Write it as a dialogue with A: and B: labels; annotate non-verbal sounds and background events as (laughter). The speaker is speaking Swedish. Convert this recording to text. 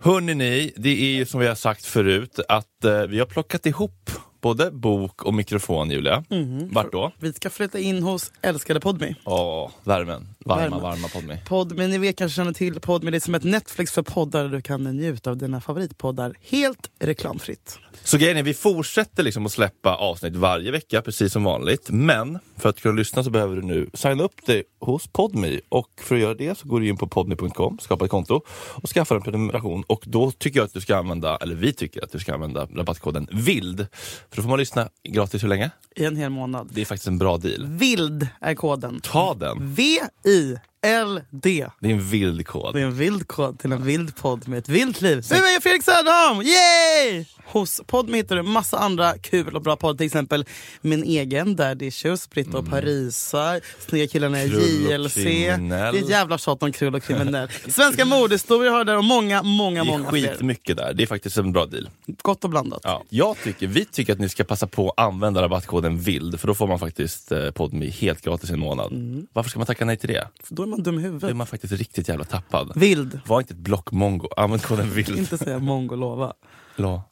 A: Hörrni ni, det är ju som vi har sagt förut att eh, vi har plockat ihop både bok och mikrofon, Julia. Vart då?
B: Vi ska flytta in hos älskade Podmi.
A: Åh, värmen. Varma,
B: Värmen.
A: varma Podme.
B: Podmi, ni vet kanske känner till Podmi, det är som ett Netflix för poddar där du kan njuta av dina favoritpoddar helt reklamfritt.
A: Så grejen är, vi fortsätter liksom att släppa avsnitt varje vecka, precis som vanligt. Men för att kunna lyssna så behöver du nu signa upp dig hos Podme. Och för att göra det så går du in på podme.com, skapar ett konto och skaffar en prenumeration. Och då tycker jag att du ska använda, eller vi tycker att du ska använda rabattkoden VILD. För då får man lyssna gratis hur länge?
B: I en hel månad.
A: Det är faktiskt en bra deal.
B: Vild är koden.
A: Ta den!
B: V-I-L-D.
A: Det är en vild kod.
B: Det är en vild kod till en vild podd med ett vilt liv. Med mig Fredrik Söderholm! Yay! Hos Podmi hittar du massa andra kul och bra poddar. Till exempel min egen Daddy Issues, Britta och Parisa, Snygga killarna i
A: Mm. Krull och
B: JLC. Det är
A: kriminell.
B: ett jävla tjat om krull och kriminell. Svenska mordhistorier har du där och många, många,
A: Det
B: många
A: är
B: fler.
A: skitmycket där. Det är faktiskt en bra deal.
B: Gott och blandat.
A: Ja. Jag tycker, vi tycker att ni ska passa på att använda rabattkoden VILD för då får man faktiskt eh, Podme helt gratis i en månad.
B: Mm.
A: Varför ska man tacka nej till det?
B: Då är man dum i
A: Då är
B: huvudet.
A: man faktiskt riktigt jävla tappad.
B: Vild.
A: Var inte ett block mongo.
B: (laughs)
A: Använd koden VILD.
B: Inte säga mongolova.
A: La.